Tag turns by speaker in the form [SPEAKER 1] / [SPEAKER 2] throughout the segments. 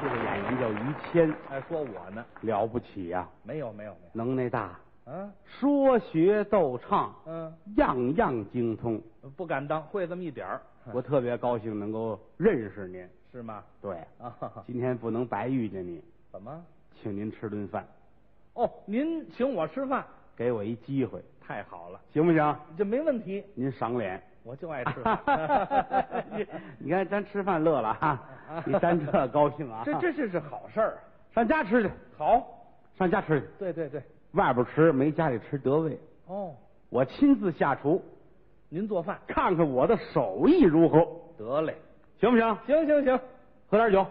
[SPEAKER 1] 这个演员叫于谦，
[SPEAKER 2] 哎，说我呢？
[SPEAKER 1] 了不起呀、
[SPEAKER 2] 没有没有没
[SPEAKER 1] 能耐大，
[SPEAKER 2] 有，啊，
[SPEAKER 1] 说学逗唱，
[SPEAKER 2] 嗯，
[SPEAKER 1] 样样精通。
[SPEAKER 2] 不敢当，会这么一点儿，
[SPEAKER 1] 我特别高兴能够认识您。
[SPEAKER 2] 是吗？
[SPEAKER 1] 对，
[SPEAKER 2] 啊，
[SPEAKER 1] 今天不能白遇见你，
[SPEAKER 2] 怎么？
[SPEAKER 1] 请您吃顿饭，
[SPEAKER 2] 哦，您请我吃饭，
[SPEAKER 1] 给我一机会，
[SPEAKER 2] 太好了，
[SPEAKER 1] 行不行？
[SPEAKER 2] 这没问题，
[SPEAKER 1] 您赏脸。
[SPEAKER 2] 我就爱吃饭
[SPEAKER 1] 你 你看咱吃饭乐了哈，你单这高兴啊？
[SPEAKER 2] 这这这是好事儿啊，
[SPEAKER 1] 上家吃去，
[SPEAKER 2] 好，
[SPEAKER 1] 上家吃去，
[SPEAKER 2] 对对对，
[SPEAKER 1] 外边吃没家里吃得味。
[SPEAKER 2] 哦，
[SPEAKER 1] 我亲自下厨，
[SPEAKER 2] 您做饭
[SPEAKER 1] 看看我的手艺如何，
[SPEAKER 2] 得嘞，
[SPEAKER 1] 行不行？
[SPEAKER 2] 行行行，
[SPEAKER 1] 喝点酒，
[SPEAKER 2] 啊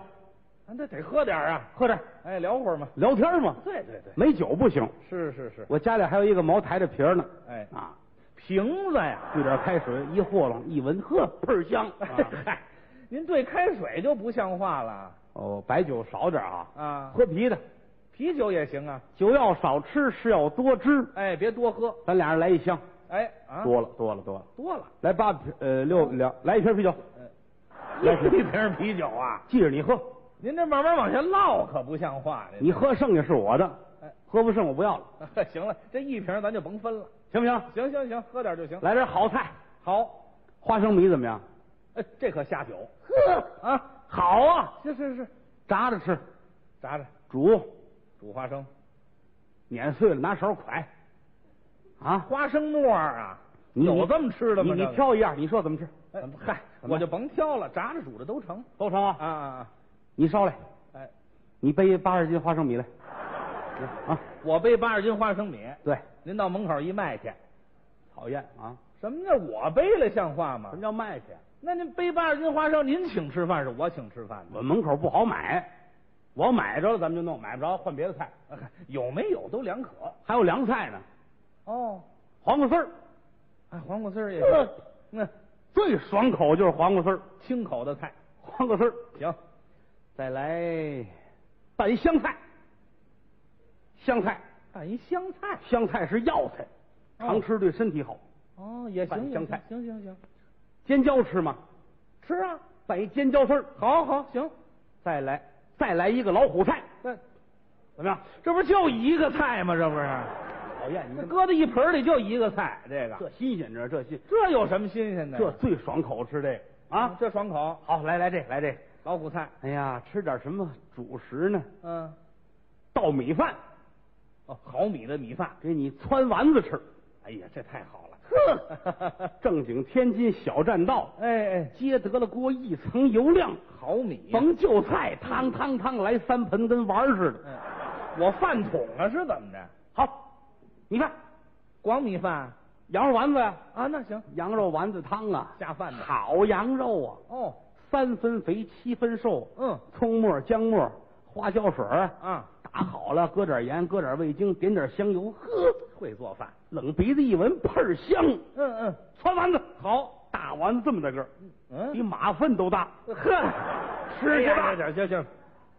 [SPEAKER 2] 那得喝点儿啊，
[SPEAKER 1] 喝点，
[SPEAKER 2] 哎，聊会儿嘛，
[SPEAKER 1] 聊天嘛。
[SPEAKER 2] 对对对，
[SPEAKER 1] 没酒不行，
[SPEAKER 2] 是是是，
[SPEAKER 1] 我家里还有一个茅台的瓶儿呢。
[SPEAKER 2] 哎
[SPEAKER 1] 啊，
[SPEAKER 2] 瓶子呀，
[SPEAKER 1] 兑点开水，一和拢，一闻，呵，倍儿香。啊、
[SPEAKER 2] 嗨， 您对开水就不像话了
[SPEAKER 1] 哦，白酒少点啊，
[SPEAKER 2] 啊，
[SPEAKER 1] 喝啤的，
[SPEAKER 2] 啤酒也行啊，
[SPEAKER 1] 酒要少吃，事要多知。
[SPEAKER 2] 哎，别多喝，
[SPEAKER 1] 咱俩人来一箱，
[SPEAKER 2] 哎啊，
[SPEAKER 1] 多了多了多了，
[SPEAKER 2] 多了，
[SPEAKER 1] 来八瓶呃六两，来一瓶啤酒，来
[SPEAKER 2] 哎一瓶啤酒啊，
[SPEAKER 1] 记着你喝，
[SPEAKER 2] 您这慢慢往下唠可不像话，这
[SPEAKER 1] 你喝剩下是我的
[SPEAKER 2] 哎，
[SPEAKER 1] 喝不剩我不要了，
[SPEAKER 2] 行了，这一瓶咱就甭分了。
[SPEAKER 1] 行不行？
[SPEAKER 2] 行行行，喝点就行。
[SPEAKER 1] 来点好菜，
[SPEAKER 2] 好，
[SPEAKER 1] 花生米怎么样？
[SPEAKER 2] 哎，这可下酒
[SPEAKER 1] 呵，
[SPEAKER 2] 啊！
[SPEAKER 1] 好啊，
[SPEAKER 2] 是是是，
[SPEAKER 1] 炸着吃，
[SPEAKER 2] 炸着
[SPEAKER 1] 煮，
[SPEAKER 2] 煮花生，
[SPEAKER 1] 碾碎了拿勺㧟，啊，
[SPEAKER 2] 花生沫儿啊，
[SPEAKER 1] 你
[SPEAKER 2] 有这么吃的吗？
[SPEAKER 1] 你
[SPEAKER 2] 这
[SPEAKER 1] 你
[SPEAKER 2] 个，
[SPEAKER 1] 挑一样，你说怎么吃？
[SPEAKER 2] 哎嗨，
[SPEAKER 1] 怎么
[SPEAKER 2] 我就甭挑了，炸着煮着都成
[SPEAKER 1] 都成
[SPEAKER 2] 啊
[SPEAKER 1] 啊！
[SPEAKER 2] 啊！啊
[SPEAKER 1] 你捎来，
[SPEAKER 2] 哎，
[SPEAKER 1] 你背八十斤花生米来，啊，
[SPEAKER 2] 我背八十斤花生米，
[SPEAKER 1] 对，
[SPEAKER 2] 您到门口一卖去。
[SPEAKER 1] 讨厌啊！
[SPEAKER 2] 什么叫我背了像话吗
[SPEAKER 1] 什么？叫卖去？
[SPEAKER 2] 那您背八十斤花生，您请吃饭是我请吃饭的，
[SPEAKER 1] 我门口不好买，我要买着了咱们就弄，买不着换别的菜。
[SPEAKER 2] 哎有没有都两可。
[SPEAKER 1] 还有凉菜呢，
[SPEAKER 2] 哦，
[SPEAKER 1] 黄瓜丝儿，
[SPEAKER 2] 哎，黄瓜丝儿也
[SPEAKER 1] 呃
[SPEAKER 2] 行，那
[SPEAKER 1] 最爽口就是黄瓜丝儿，
[SPEAKER 2] 清口的菜
[SPEAKER 1] 黄瓜丝儿，
[SPEAKER 2] 行。
[SPEAKER 1] 再来拌一香菜，香菜，
[SPEAKER 2] 拌啊一香菜，
[SPEAKER 1] 香菜是药材，常吃对身体好。
[SPEAKER 2] 哦，也
[SPEAKER 1] 拌
[SPEAKER 2] 行，
[SPEAKER 1] 香菜
[SPEAKER 2] 行行行，
[SPEAKER 1] 尖椒吃吗？
[SPEAKER 2] 吃啊，
[SPEAKER 1] 拌一尖椒丝儿，
[SPEAKER 2] 好好行，
[SPEAKER 1] 再来再来一个老虎菜，
[SPEAKER 2] 那
[SPEAKER 1] 怎么样？
[SPEAKER 2] 这不就一个菜吗？这不是，
[SPEAKER 1] 讨厌你
[SPEAKER 2] 那
[SPEAKER 1] 这么
[SPEAKER 2] 搁在一盆儿里就一个菜，这
[SPEAKER 1] 这
[SPEAKER 2] 个
[SPEAKER 1] 新鲜着，这新
[SPEAKER 2] 这有什么新鲜的呀？
[SPEAKER 1] 这最爽口吃这个
[SPEAKER 2] 啊
[SPEAKER 1] 啊，！
[SPEAKER 2] 这爽口，
[SPEAKER 1] 好，来来这来这，
[SPEAKER 2] 老虎菜，
[SPEAKER 1] 哎呀，吃点什么主食呢？
[SPEAKER 2] 嗯，
[SPEAKER 1] 稻米饭，
[SPEAKER 2] 哦，好米的米饭，
[SPEAKER 1] 给你汆丸子吃。
[SPEAKER 2] 哎呀，这太好了，
[SPEAKER 1] 呵， 正经天津小栈道，
[SPEAKER 2] 哎哎，
[SPEAKER 1] 揭得了锅一层油亮，
[SPEAKER 2] 好米呀，
[SPEAKER 1] 甭就菜，汤汤汤来三盆，跟玩儿似的。
[SPEAKER 2] 嗯，我饭桶啊是怎么着？
[SPEAKER 1] 好，你看
[SPEAKER 2] 光米饭
[SPEAKER 1] 羊肉丸子呀，
[SPEAKER 2] 啊，那行
[SPEAKER 1] 羊肉丸子汤啊，
[SPEAKER 2] 下饭的，
[SPEAKER 1] 好羊肉啊，
[SPEAKER 2] 哦，
[SPEAKER 1] 三分肥七分瘦，
[SPEAKER 2] 嗯
[SPEAKER 1] 葱末、姜末、花椒水儿
[SPEAKER 2] 啊，
[SPEAKER 1] 打好了，搁点盐，搁点味精，点点香油，呵，
[SPEAKER 2] 会做饭，
[SPEAKER 1] 冷鼻子一闻，倍儿香。
[SPEAKER 2] 嗯嗯
[SPEAKER 1] 汆丸子好，大丸子这么大个儿，
[SPEAKER 2] 嗯
[SPEAKER 1] 比，马粪都大。
[SPEAKER 2] 呵，
[SPEAKER 1] 吃去吧
[SPEAKER 2] 哎呀行行行，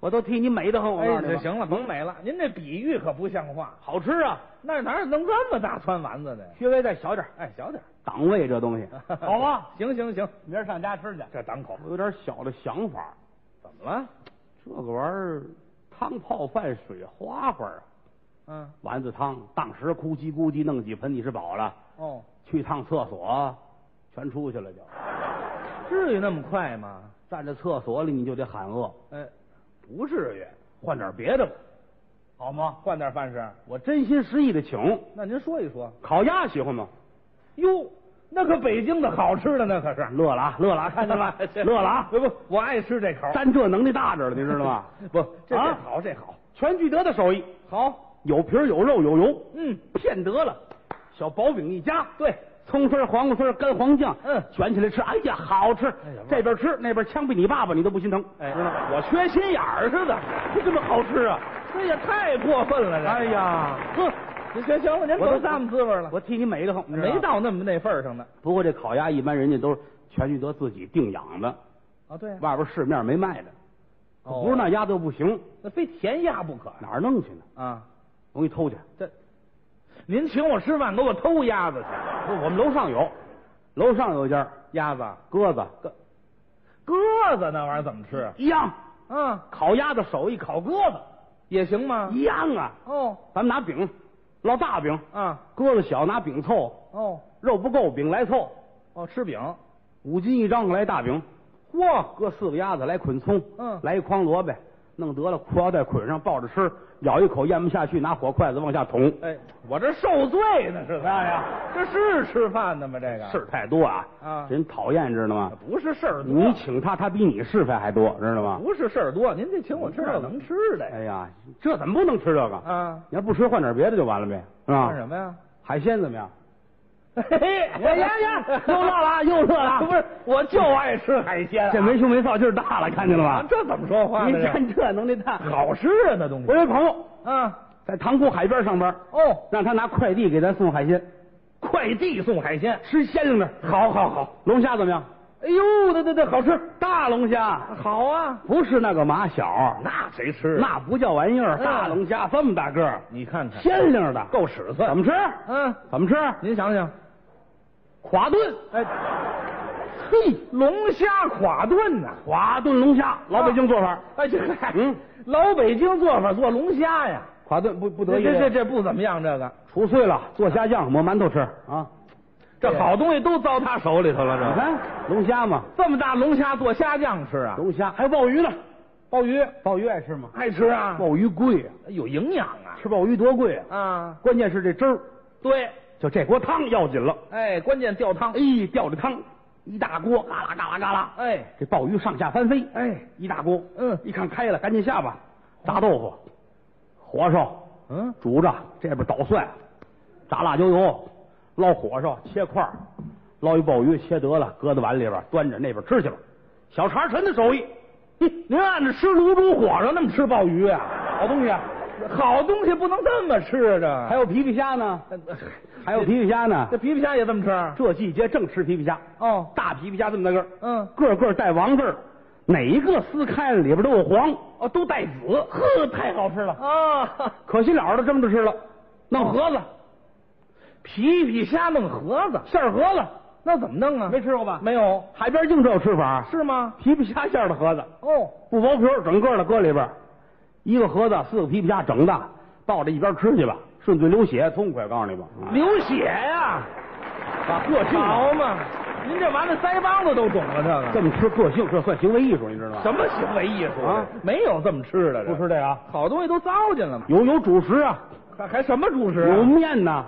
[SPEAKER 1] 我都替你美得很，我告诉
[SPEAKER 2] 哎，
[SPEAKER 1] 你
[SPEAKER 2] 这
[SPEAKER 1] 吧，
[SPEAKER 2] 行了，甭美了，您这比喻可不像话，
[SPEAKER 1] 好吃啊，
[SPEAKER 2] 那哪能这么大穿丸子的呀？
[SPEAKER 1] 稍微再小点儿，
[SPEAKER 2] 哎，小点
[SPEAKER 1] 档位这 东西
[SPEAKER 2] 儿，
[SPEAKER 1] 好吧？，
[SPEAKER 2] 行行行，
[SPEAKER 1] 明儿上家吃去。
[SPEAKER 2] 这档口
[SPEAKER 1] 我有点小的想法，
[SPEAKER 2] 怎么了？
[SPEAKER 1] 这个玩意儿汤泡饭水花花啊，
[SPEAKER 2] 嗯，
[SPEAKER 1] 丸子汤，当时咕叽咕叽弄几盆，你是饱了。
[SPEAKER 2] 哦，
[SPEAKER 1] 去趟厕所，全出去了就。
[SPEAKER 2] 至于那么快吗？
[SPEAKER 1] 站在厕所里你就得喊饿，
[SPEAKER 2] 哎，
[SPEAKER 1] 不至于，换点别的吧，好吗？
[SPEAKER 2] 换点饭食。
[SPEAKER 1] 我真心实意的请，
[SPEAKER 2] 那您说一说。
[SPEAKER 1] 烤鸭喜欢吗？
[SPEAKER 2] 哟，那可北京的好吃的，那可是
[SPEAKER 1] 乐了啊，乐了啊，看见 了吧
[SPEAKER 2] 这，
[SPEAKER 1] 乐了啊！
[SPEAKER 2] 嗯不不，我爱吃这口。
[SPEAKER 1] 咱这能力大着了，你知道吗？
[SPEAKER 2] 不，这这
[SPEAKER 1] 啊
[SPEAKER 2] 好，这好，
[SPEAKER 1] 全聚德的手艺，
[SPEAKER 2] 好，
[SPEAKER 1] 有皮儿有肉有油，
[SPEAKER 2] 嗯，
[SPEAKER 1] 骗得了。小薄饼一夹，
[SPEAKER 2] 对，
[SPEAKER 1] 葱丝儿、黄瓜丝儿、干黄酱，
[SPEAKER 2] 嗯
[SPEAKER 1] 卷起来吃，哎呀，好吃！
[SPEAKER 2] 哎呀味儿
[SPEAKER 1] 这边吃，那边枪毙你爸爸，你都不心疼，
[SPEAKER 2] 哎
[SPEAKER 1] 知道吗？我缺心眼儿似的，这怎么好吃啊？
[SPEAKER 2] 这也太过分了，这。
[SPEAKER 1] 哎呀，呵，
[SPEAKER 2] 行行行了，您
[SPEAKER 1] 我都
[SPEAKER 2] 甭这么滋味了，
[SPEAKER 1] 我替你美得很，你知道吗
[SPEAKER 2] 没。到那么那份儿上呢。
[SPEAKER 1] 不过这烤鸭一般人家都是全聚德自己定养的，
[SPEAKER 2] 啊，对啊，
[SPEAKER 1] 外边市面没卖的，
[SPEAKER 2] 哦
[SPEAKER 1] 不是那鸭都不行，
[SPEAKER 2] 那非填鸭不可呀
[SPEAKER 1] 哪儿弄去呢？
[SPEAKER 2] 啊！
[SPEAKER 1] 容易偷去。
[SPEAKER 2] 这，您请我吃饭，给我偷鸭子去。
[SPEAKER 1] 不，我们楼上有，楼上有一家
[SPEAKER 2] 鸭子、
[SPEAKER 1] 鸽子
[SPEAKER 2] 鸽子那玩意儿怎么吃啊？
[SPEAKER 1] 一样，
[SPEAKER 2] 嗯，
[SPEAKER 1] 烤鸭子手艺烤鸽子
[SPEAKER 2] 也行吗？
[SPEAKER 1] 一样啊。
[SPEAKER 2] 哦，
[SPEAKER 1] 咱们拿饼，烙大饼，
[SPEAKER 2] 啊，
[SPEAKER 1] 鸽子小拿饼凑，
[SPEAKER 2] 哦，
[SPEAKER 1] 肉不够饼来凑，
[SPEAKER 2] 哦，吃饼，
[SPEAKER 1] 五斤一张来大饼，
[SPEAKER 2] 嚯，
[SPEAKER 1] 搁四个鸭子来捆葱，
[SPEAKER 2] 嗯
[SPEAKER 1] 来一筐萝卜，弄得了裤腰带捆上抱着吃，咬一口咽不下去，拿火筷子往下捅，
[SPEAKER 2] 哎，我这受罪呢是吧
[SPEAKER 1] 哎呀
[SPEAKER 2] 呀？这是吃饭的吗？这个
[SPEAKER 1] 事儿太多啊，
[SPEAKER 2] 啊
[SPEAKER 1] 人讨厌知道吗？
[SPEAKER 2] 不是事儿
[SPEAKER 1] 你
[SPEAKER 2] 多，
[SPEAKER 1] 请他，他比你是非还多，知道吗？
[SPEAKER 2] 不是事儿多，您得请我吃点能吃的呀。
[SPEAKER 1] 哎呀，这怎么不能吃这个？
[SPEAKER 2] 啊，
[SPEAKER 1] 你要不吃，换点别的就完了呗，是吧？
[SPEAKER 2] 干什么呀？
[SPEAKER 1] 海鲜怎么样？
[SPEAKER 2] 嘿嘿，
[SPEAKER 1] 哎呀 呀， 又乐了，又乐了！
[SPEAKER 2] 不是，啊我就爱吃海鲜啊。
[SPEAKER 1] 这没羞没臊，劲儿大了，看见了
[SPEAKER 2] 啊
[SPEAKER 1] 吗？
[SPEAKER 2] 这怎么说话
[SPEAKER 1] 您
[SPEAKER 2] 呢？这
[SPEAKER 1] 看这能耐大。
[SPEAKER 2] 好吃啊，那东西
[SPEAKER 1] 我。有一朋友
[SPEAKER 2] 啊，
[SPEAKER 1] 在塘沽海边上班，
[SPEAKER 2] 哦，
[SPEAKER 1] 让他拿快递给咱送海鲜，
[SPEAKER 2] 快递送海鲜，
[SPEAKER 1] 吃鲜灵的。
[SPEAKER 2] 好好好。
[SPEAKER 1] 龙虾怎么样？
[SPEAKER 2] 哎呦，对对对，好吃，
[SPEAKER 1] 大龙虾，
[SPEAKER 2] 好啊。
[SPEAKER 1] 不是那个马小，
[SPEAKER 2] 那谁吃？啊
[SPEAKER 1] 那不叫玩意儿。
[SPEAKER 2] 嗯
[SPEAKER 1] 大龙虾这么大个儿，
[SPEAKER 2] 你看看，
[SPEAKER 1] 鲜灵的，
[SPEAKER 2] 够尺寸。
[SPEAKER 1] 怎么吃？
[SPEAKER 2] 嗯，
[SPEAKER 1] 怎么吃？
[SPEAKER 2] 您想想，
[SPEAKER 1] 垮炖，
[SPEAKER 2] 哎，
[SPEAKER 1] 嘿，
[SPEAKER 2] 龙虾垮炖呐、
[SPEAKER 1] 垮炖龙虾，老北京做法。
[SPEAKER 2] 哎，这个
[SPEAKER 1] 嗯，
[SPEAKER 2] 老北京做法做龙虾呀，
[SPEAKER 1] 垮炖不不
[SPEAKER 2] 这
[SPEAKER 1] 得意，
[SPEAKER 2] 这这这不怎啊么样，这个
[SPEAKER 1] 除碎了做虾酱，抹馒头吃啊。
[SPEAKER 2] 这好东西都糟他手里头了，
[SPEAKER 1] 你
[SPEAKER 2] 这
[SPEAKER 1] 看龙虾嘛，
[SPEAKER 2] 这么大龙虾做虾酱吃啊？
[SPEAKER 1] 龙虾还有鲍鱼呢，
[SPEAKER 2] 鲍鱼
[SPEAKER 1] 鲍鱼爱吃吗？
[SPEAKER 2] 爱吃啊，
[SPEAKER 1] 鲍鱼贵啊，
[SPEAKER 2] 有营养啊
[SPEAKER 1] 吃鲍鱼多贵啊！
[SPEAKER 2] 啊，
[SPEAKER 1] 关键是这汁儿，
[SPEAKER 2] 对，
[SPEAKER 1] 就这锅汤要紧了。
[SPEAKER 2] 哎，关键吊汤，
[SPEAKER 1] 哎，吊着汤，一大锅，嘎啦嘎啦嘎啦，
[SPEAKER 2] 哎
[SPEAKER 1] 这鲍鱼上下翻飞，
[SPEAKER 2] 哎，
[SPEAKER 1] 一大锅。
[SPEAKER 2] 嗯哦
[SPEAKER 1] 一看开了，赶紧下吧。炸豆腐，火烧，
[SPEAKER 2] 嗯，
[SPEAKER 1] 煮着，这边捣蒜，炸辣椒油，捞火烧，切块儿，捞一鲍鱼，切得了，搁在碗里边，端着那边吃去吧。小茶陈的手艺，哼，
[SPEAKER 2] 您按着吃卤煮火烧那么吃鲍鱼啊？
[SPEAKER 1] 好东西啊！
[SPEAKER 2] 好东西不能这么吃啊，
[SPEAKER 1] 还有皮皮虾呢，
[SPEAKER 2] 这
[SPEAKER 1] 还有皮皮虾呢
[SPEAKER 2] 嗯这。皮皮虾也这么吃？啊
[SPEAKER 1] 这季节正吃皮皮虾，
[SPEAKER 2] 哦，
[SPEAKER 1] 大皮皮虾这么大个儿，
[SPEAKER 2] 嗯，
[SPEAKER 1] 个个带王字儿，哪一个撕开了里边都有黄，
[SPEAKER 2] 哦，都带籽
[SPEAKER 1] 呵，太好吃了。
[SPEAKER 2] 啊，
[SPEAKER 1] 可惜了的蒸着吃了，
[SPEAKER 2] 哦
[SPEAKER 1] 弄盒子
[SPEAKER 2] 皮皮虾弄盒子，
[SPEAKER 1] 馅儿盒子，
[SPEAKER 2] 那怎么弄啊？
[SPEAKER 1] 没吃过吧？
[SPEAKER 2] 没有，
[SPEAKER 1] 海边净这有吃法，
[SPEAKER 2] 是吗？
[SPEAKER 1] 皮皮虾馅儿的盒子，
[SPEAKER 2] 哦，
[SPEAKER 1] 不薄皮儿，整个的搁里边儿，一个盒子四个皮皮虾，整的抱着一边吃去吧，顺嘴流血，痛快，告诉你吧。啊
[SPEAKER 2] 流血呀、
[SPEAKER 1] 把个性啊
[SPEAKER 2] 好嘛，您这玩意腮帮子都肿了，这
[SPEAKER 1] 这
[SPEAKER 2] 个
[SPEAKER 1] 么吃个性，这算行为艺术，你知道吗？
[SPEAKER 2] 什么行为艺术
[SPEAKER 1] 啊
[SPEAKER 2] 啊？没有这么吃的，
[SPEAKER 1] 不吃这个啊？
[SPEAKER 2] 好东西都糟践了嘛，
[SPEAKER 1] 有有主食啊，
[SPEAKER 2] 还还什么主食啊、啊
[SPEAKER 1] 有面呐，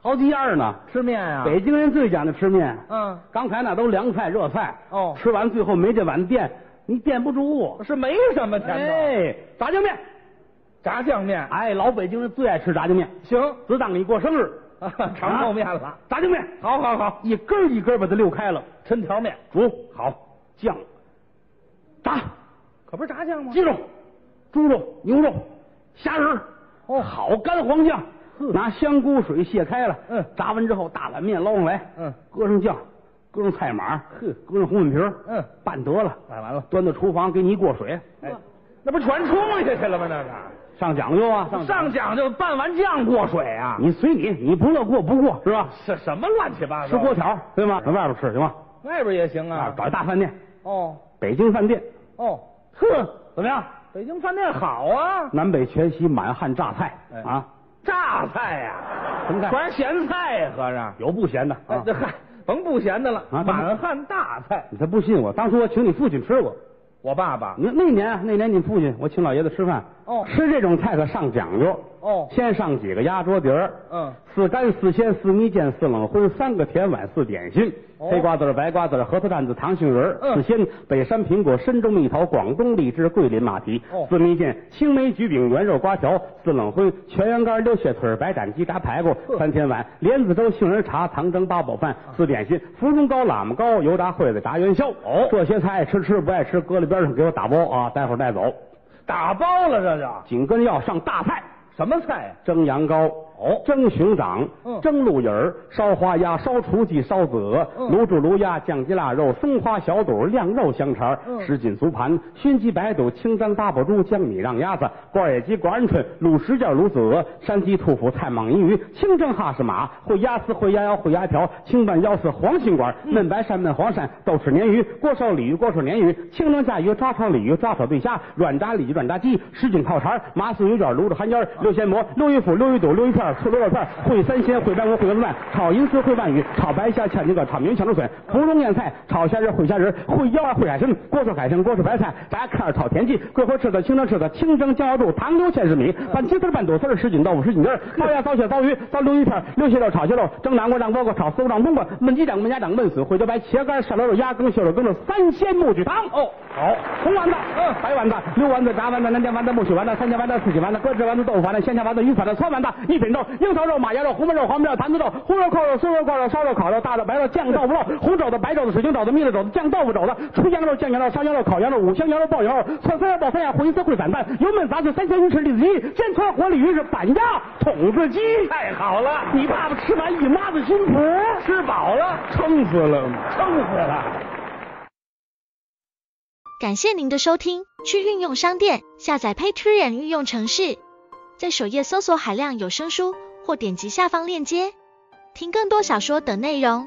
[SPEAKER 1] 好几样呢。
[SPEAKER 2] 吃面呀、
[SPEAKER 1] 北京人最讲究吃面，
[SPEAKER 2] 嗯，
[SPEAKER 1] 刚才那都凉菜热菜，
[SPEAKER 2] 哦
[SPEAKER 1] 吃完最后没这碗垫，你垫不住。
[SPEAKER 2] 是啊没啊什么甜的。
[SPEAKER 1] 哎，炸酱面，
[SPEAKER 2] 炸酱面
[SPEAKER 1] 哎，老北京人最爱吃炸酱面，
[SPEAKER 2] 行，
[SPEAKER 1] 只当你过生日，
[SPEAKER 2] 啊尝泡面了。
[SPEAKER 1] 啊炸酱面，
[SPEAKER 2] 好好好，
[SPEAKER 1] 一根儿一根儿把它溜开了，
[SPEAKER 2] 抻条面，
[SPEAKER 1] 煮好酱，炸
[SPEAKER 2] 可不是炸酱吗
[SPEAKER 1] 鸡？肉、猪肉、牛肉、虾仁儿，
[SPEAKER 2] 哦
[SPEAKER 1] 好干黄酱，
[SPEAKER 2] 呵
[SPEAKER 1] 拿香菇水卸开了，
[SPEAKER 2] 嗯
[SPEAKER 1] 炸完之后大碗面捞上来，
[SPEAKER 2] 嗯，
[SPEAKER 1] 搁上酱，搁上菜码，
[SPEAKER 2] 呵
[SPEAKER 1] 搁上红粉皮儿，
[SPEAKER 2] 嗯
[SPEAKER 1] 拌得了，
[SPEAKER 2] 买完了，
[SPEAKER 1] 端到厨房给你一过水，
[SPEAKER 2] 哎，那不全冲下去了吗？那个
[SPEAKER 1] 上讲究啊，上
[SPEAKER 2] 哦上讲究拌完酱过水啊？
[SPEAKER 1] 你随你，你不乐过不过是吧？
[SPEAKER 2] 是什么乱七八糟？
[SPEAKER 1] 吃锅条对吗？
[SPEAKER 2] 嗯
[SPEAKER 1] 在外边吃行吗？
[SPEAKER 2] 外边也行
[SPEAKER 1] 啊
[SPEAKER 2] 啊，。
[SPEAKER 1] 找一大饭店，
[SPEAKER 2] 哦
[SPEAKER 1] 北京饭店，
[SPEAKER 2] 哦，
[SPEAKER 1] 呵，怎么样？
[SPEAKER 2] 北京饭店好啊，
[SPEAKER 1] 南北全席，满汉榨菜
[SPEAKER 2] 哎
[SPEAKER 1] 啊，
[SPEAKER 2] 榨菜呀、
[SPEAKER 1] 什么菜？
[SPEAKER 2] 全是咸菜呀、合着。
[SPEAKER 1] 有不咸的
[SPEAKER 2] 哎
[SPEAKER 1] 啊，
[SPEAKER 2] 这？嗨，甭不咸的了，
[SPEAKER 1] 啊
[SPEAKER 2] 满汉大菜。
[SPEAKER 1] 你才不信我，当初我请你父亲吃过。
[SPEAKER 2] 我爸爸
[SPEAKER 1] 你看那年啊，那年你父亲，我请老爷子吃饭，
[SPEAKER 2] 哦
[SPEAKER 1] 吃这种菜可上讲究，
[SPEAKER 2] 哦
[SPEAKER 1] 先上几个鸭桌底儿，
[SPEAKER 2] 嗯，
[SPEAKER 1] 四干四鲜四蜜饯四冷荤三个甜碗四点心，
[SPEAKER 2] 哦
[SPEAKER 1] 黑瓜子儿白瓜子儿核桃蛋子糖杏仁儿
[SPEAKER 2] 嗯
[SPEAKER 1] 四鲜北山苹果深州蜜桃广东荔枝桂林马蹄
[SPEAKER 2] 哦
[SPEAKER 1] 四蜜饯青梅橘饼圆肉瓜条四冷荤全羊肝溜血腿儿白斩鸡炸排骨
[SPEAKER 2] 呵啊
[SPEAKER 1] 三天碗莲子粥杏仁茶糖蒸八宝饭四点心芙蓉糕喇嘛糕油炸烩子炸元宵
[SPEAKER 2] 哦
[SPEAKER 1] 这些菜爱吃吃不爱吃搁在边上给我打包啊，待会儿带走。
[SPEAKER 2] 打包了，这就
[SPEAKER 1] 紧跟要上大菜，
[SPEAKER 2] 什么菜呀、
[SPEAKER 1] 蒸羊羔、蒸熊掌、
[SPEAKER 2] 哦嗯
[SPEAKER 1] 蒸鹿尾儿、烧花鸭、烧雏鸡、烧子鹅、
[SPEAKER 2] 嗯
[SPEAKER 1] 卤煮卤鸭、酱鸡腊肉、松花小肚、晾肉香肠儿、
[SPEAKER 2] 嗯
[SPEAKER 1] 什锦酥盘、熏鸡白肚、清蒸八宝猪、江米让鸭子、罐野鸡、罐鹌鹑、卤什件、卤子鹅、山鸡、兔脯、菜蟒银鱼、清蒸哈士马、烩鸭丝、烩鸭腰、烩鸭条、清拌腰丝、黄心管、焖白鳝、焖黄鳝、豆豉鲶鱼、锅烧鲤鱼、锅烧鲶鱼、清蒸炸鱼、抓炒鲤鱼、抓炒对虾、软炸鲤鱼、软炸鸡、什锦烤肠儿、麻丝油卷、卤煮寒烟儿、六鲜蘑、六一脯、六一肚、六一片儿、醋溜肉片儿、烩三鲜、烩白骨、烩丸子饭、炒银丝、烩鳗鱼、炒白虾、炝鸡个、炒明小竹笋、芙蓉燕菜、炒虾仁、烩虾仁、烩腰儿、啊烩海参、锅烧海参、锅烧白菜、炸开儿、炒田鸡、桂花翅子、清蒸翅子、清蒸江瑶肚、糖油芡实米、拌鸡丝、拌肚丝儿、什锦豆腐、什锦鸡儿、冒鸭、糟血、糟鱼、糟溜鱼片儿、溜蟹肉、炒蟹肉、蒸南瓜、让饽饽、炒丝瓜、让冬瓜、焖鸡掌、焖鸭掌、焖死、烩茭白、茄干、涮牛肉、鸭羹、蟹肉羹的三鲜木具汤。
[SPEAKER 2] 哦，
[SPEAKER 1] 好，红丸子，
[SPEAKER 2] 嗯
[SPEAKER 1] 白丸子，溜丸子，炸丸子，南煎丸子，木须丸子，三鲜丸子，四喜丸子，搁置丸子，豆腐丸子，鲜虾丸子，鱼丸子，酸丸子，一品肉，樱桃肉，马牙肉，红焖肉，黄焖肉，坛子肉，烀肉、扣肉、酥肉、灌肉、烧肉、烤肉，大肉、白肉，酱豆腐肉，红肘子、白肘子、水晶肘子、蜜了肘子，酱豆腐肘子，出羊肉、酱羊肉、烧羊肉、烤羊肉，五香羊肉、爆羊肉，蒜三样爆三样，烩一丝烩散蛋，油焖杂碎，三鲜鱼翅、栗子鸡，鲜川活鲤鱼是板鸭、筒子鸡。
[SPEAKER 2] 太好了，
[SPEAKER 1] 你爸爸吃完一妈子心脯，
[SPEAKER 2] 吃饱了，
[SPEAKER 1] 撑死了。
[SPEAKER 2] 撑死了。
[SPEAKER 3] 感谢您的收听，去应用商店下载 Patreon 应用城市，在首页搜索海量有声书，或点击下方链接听更多小说等内容。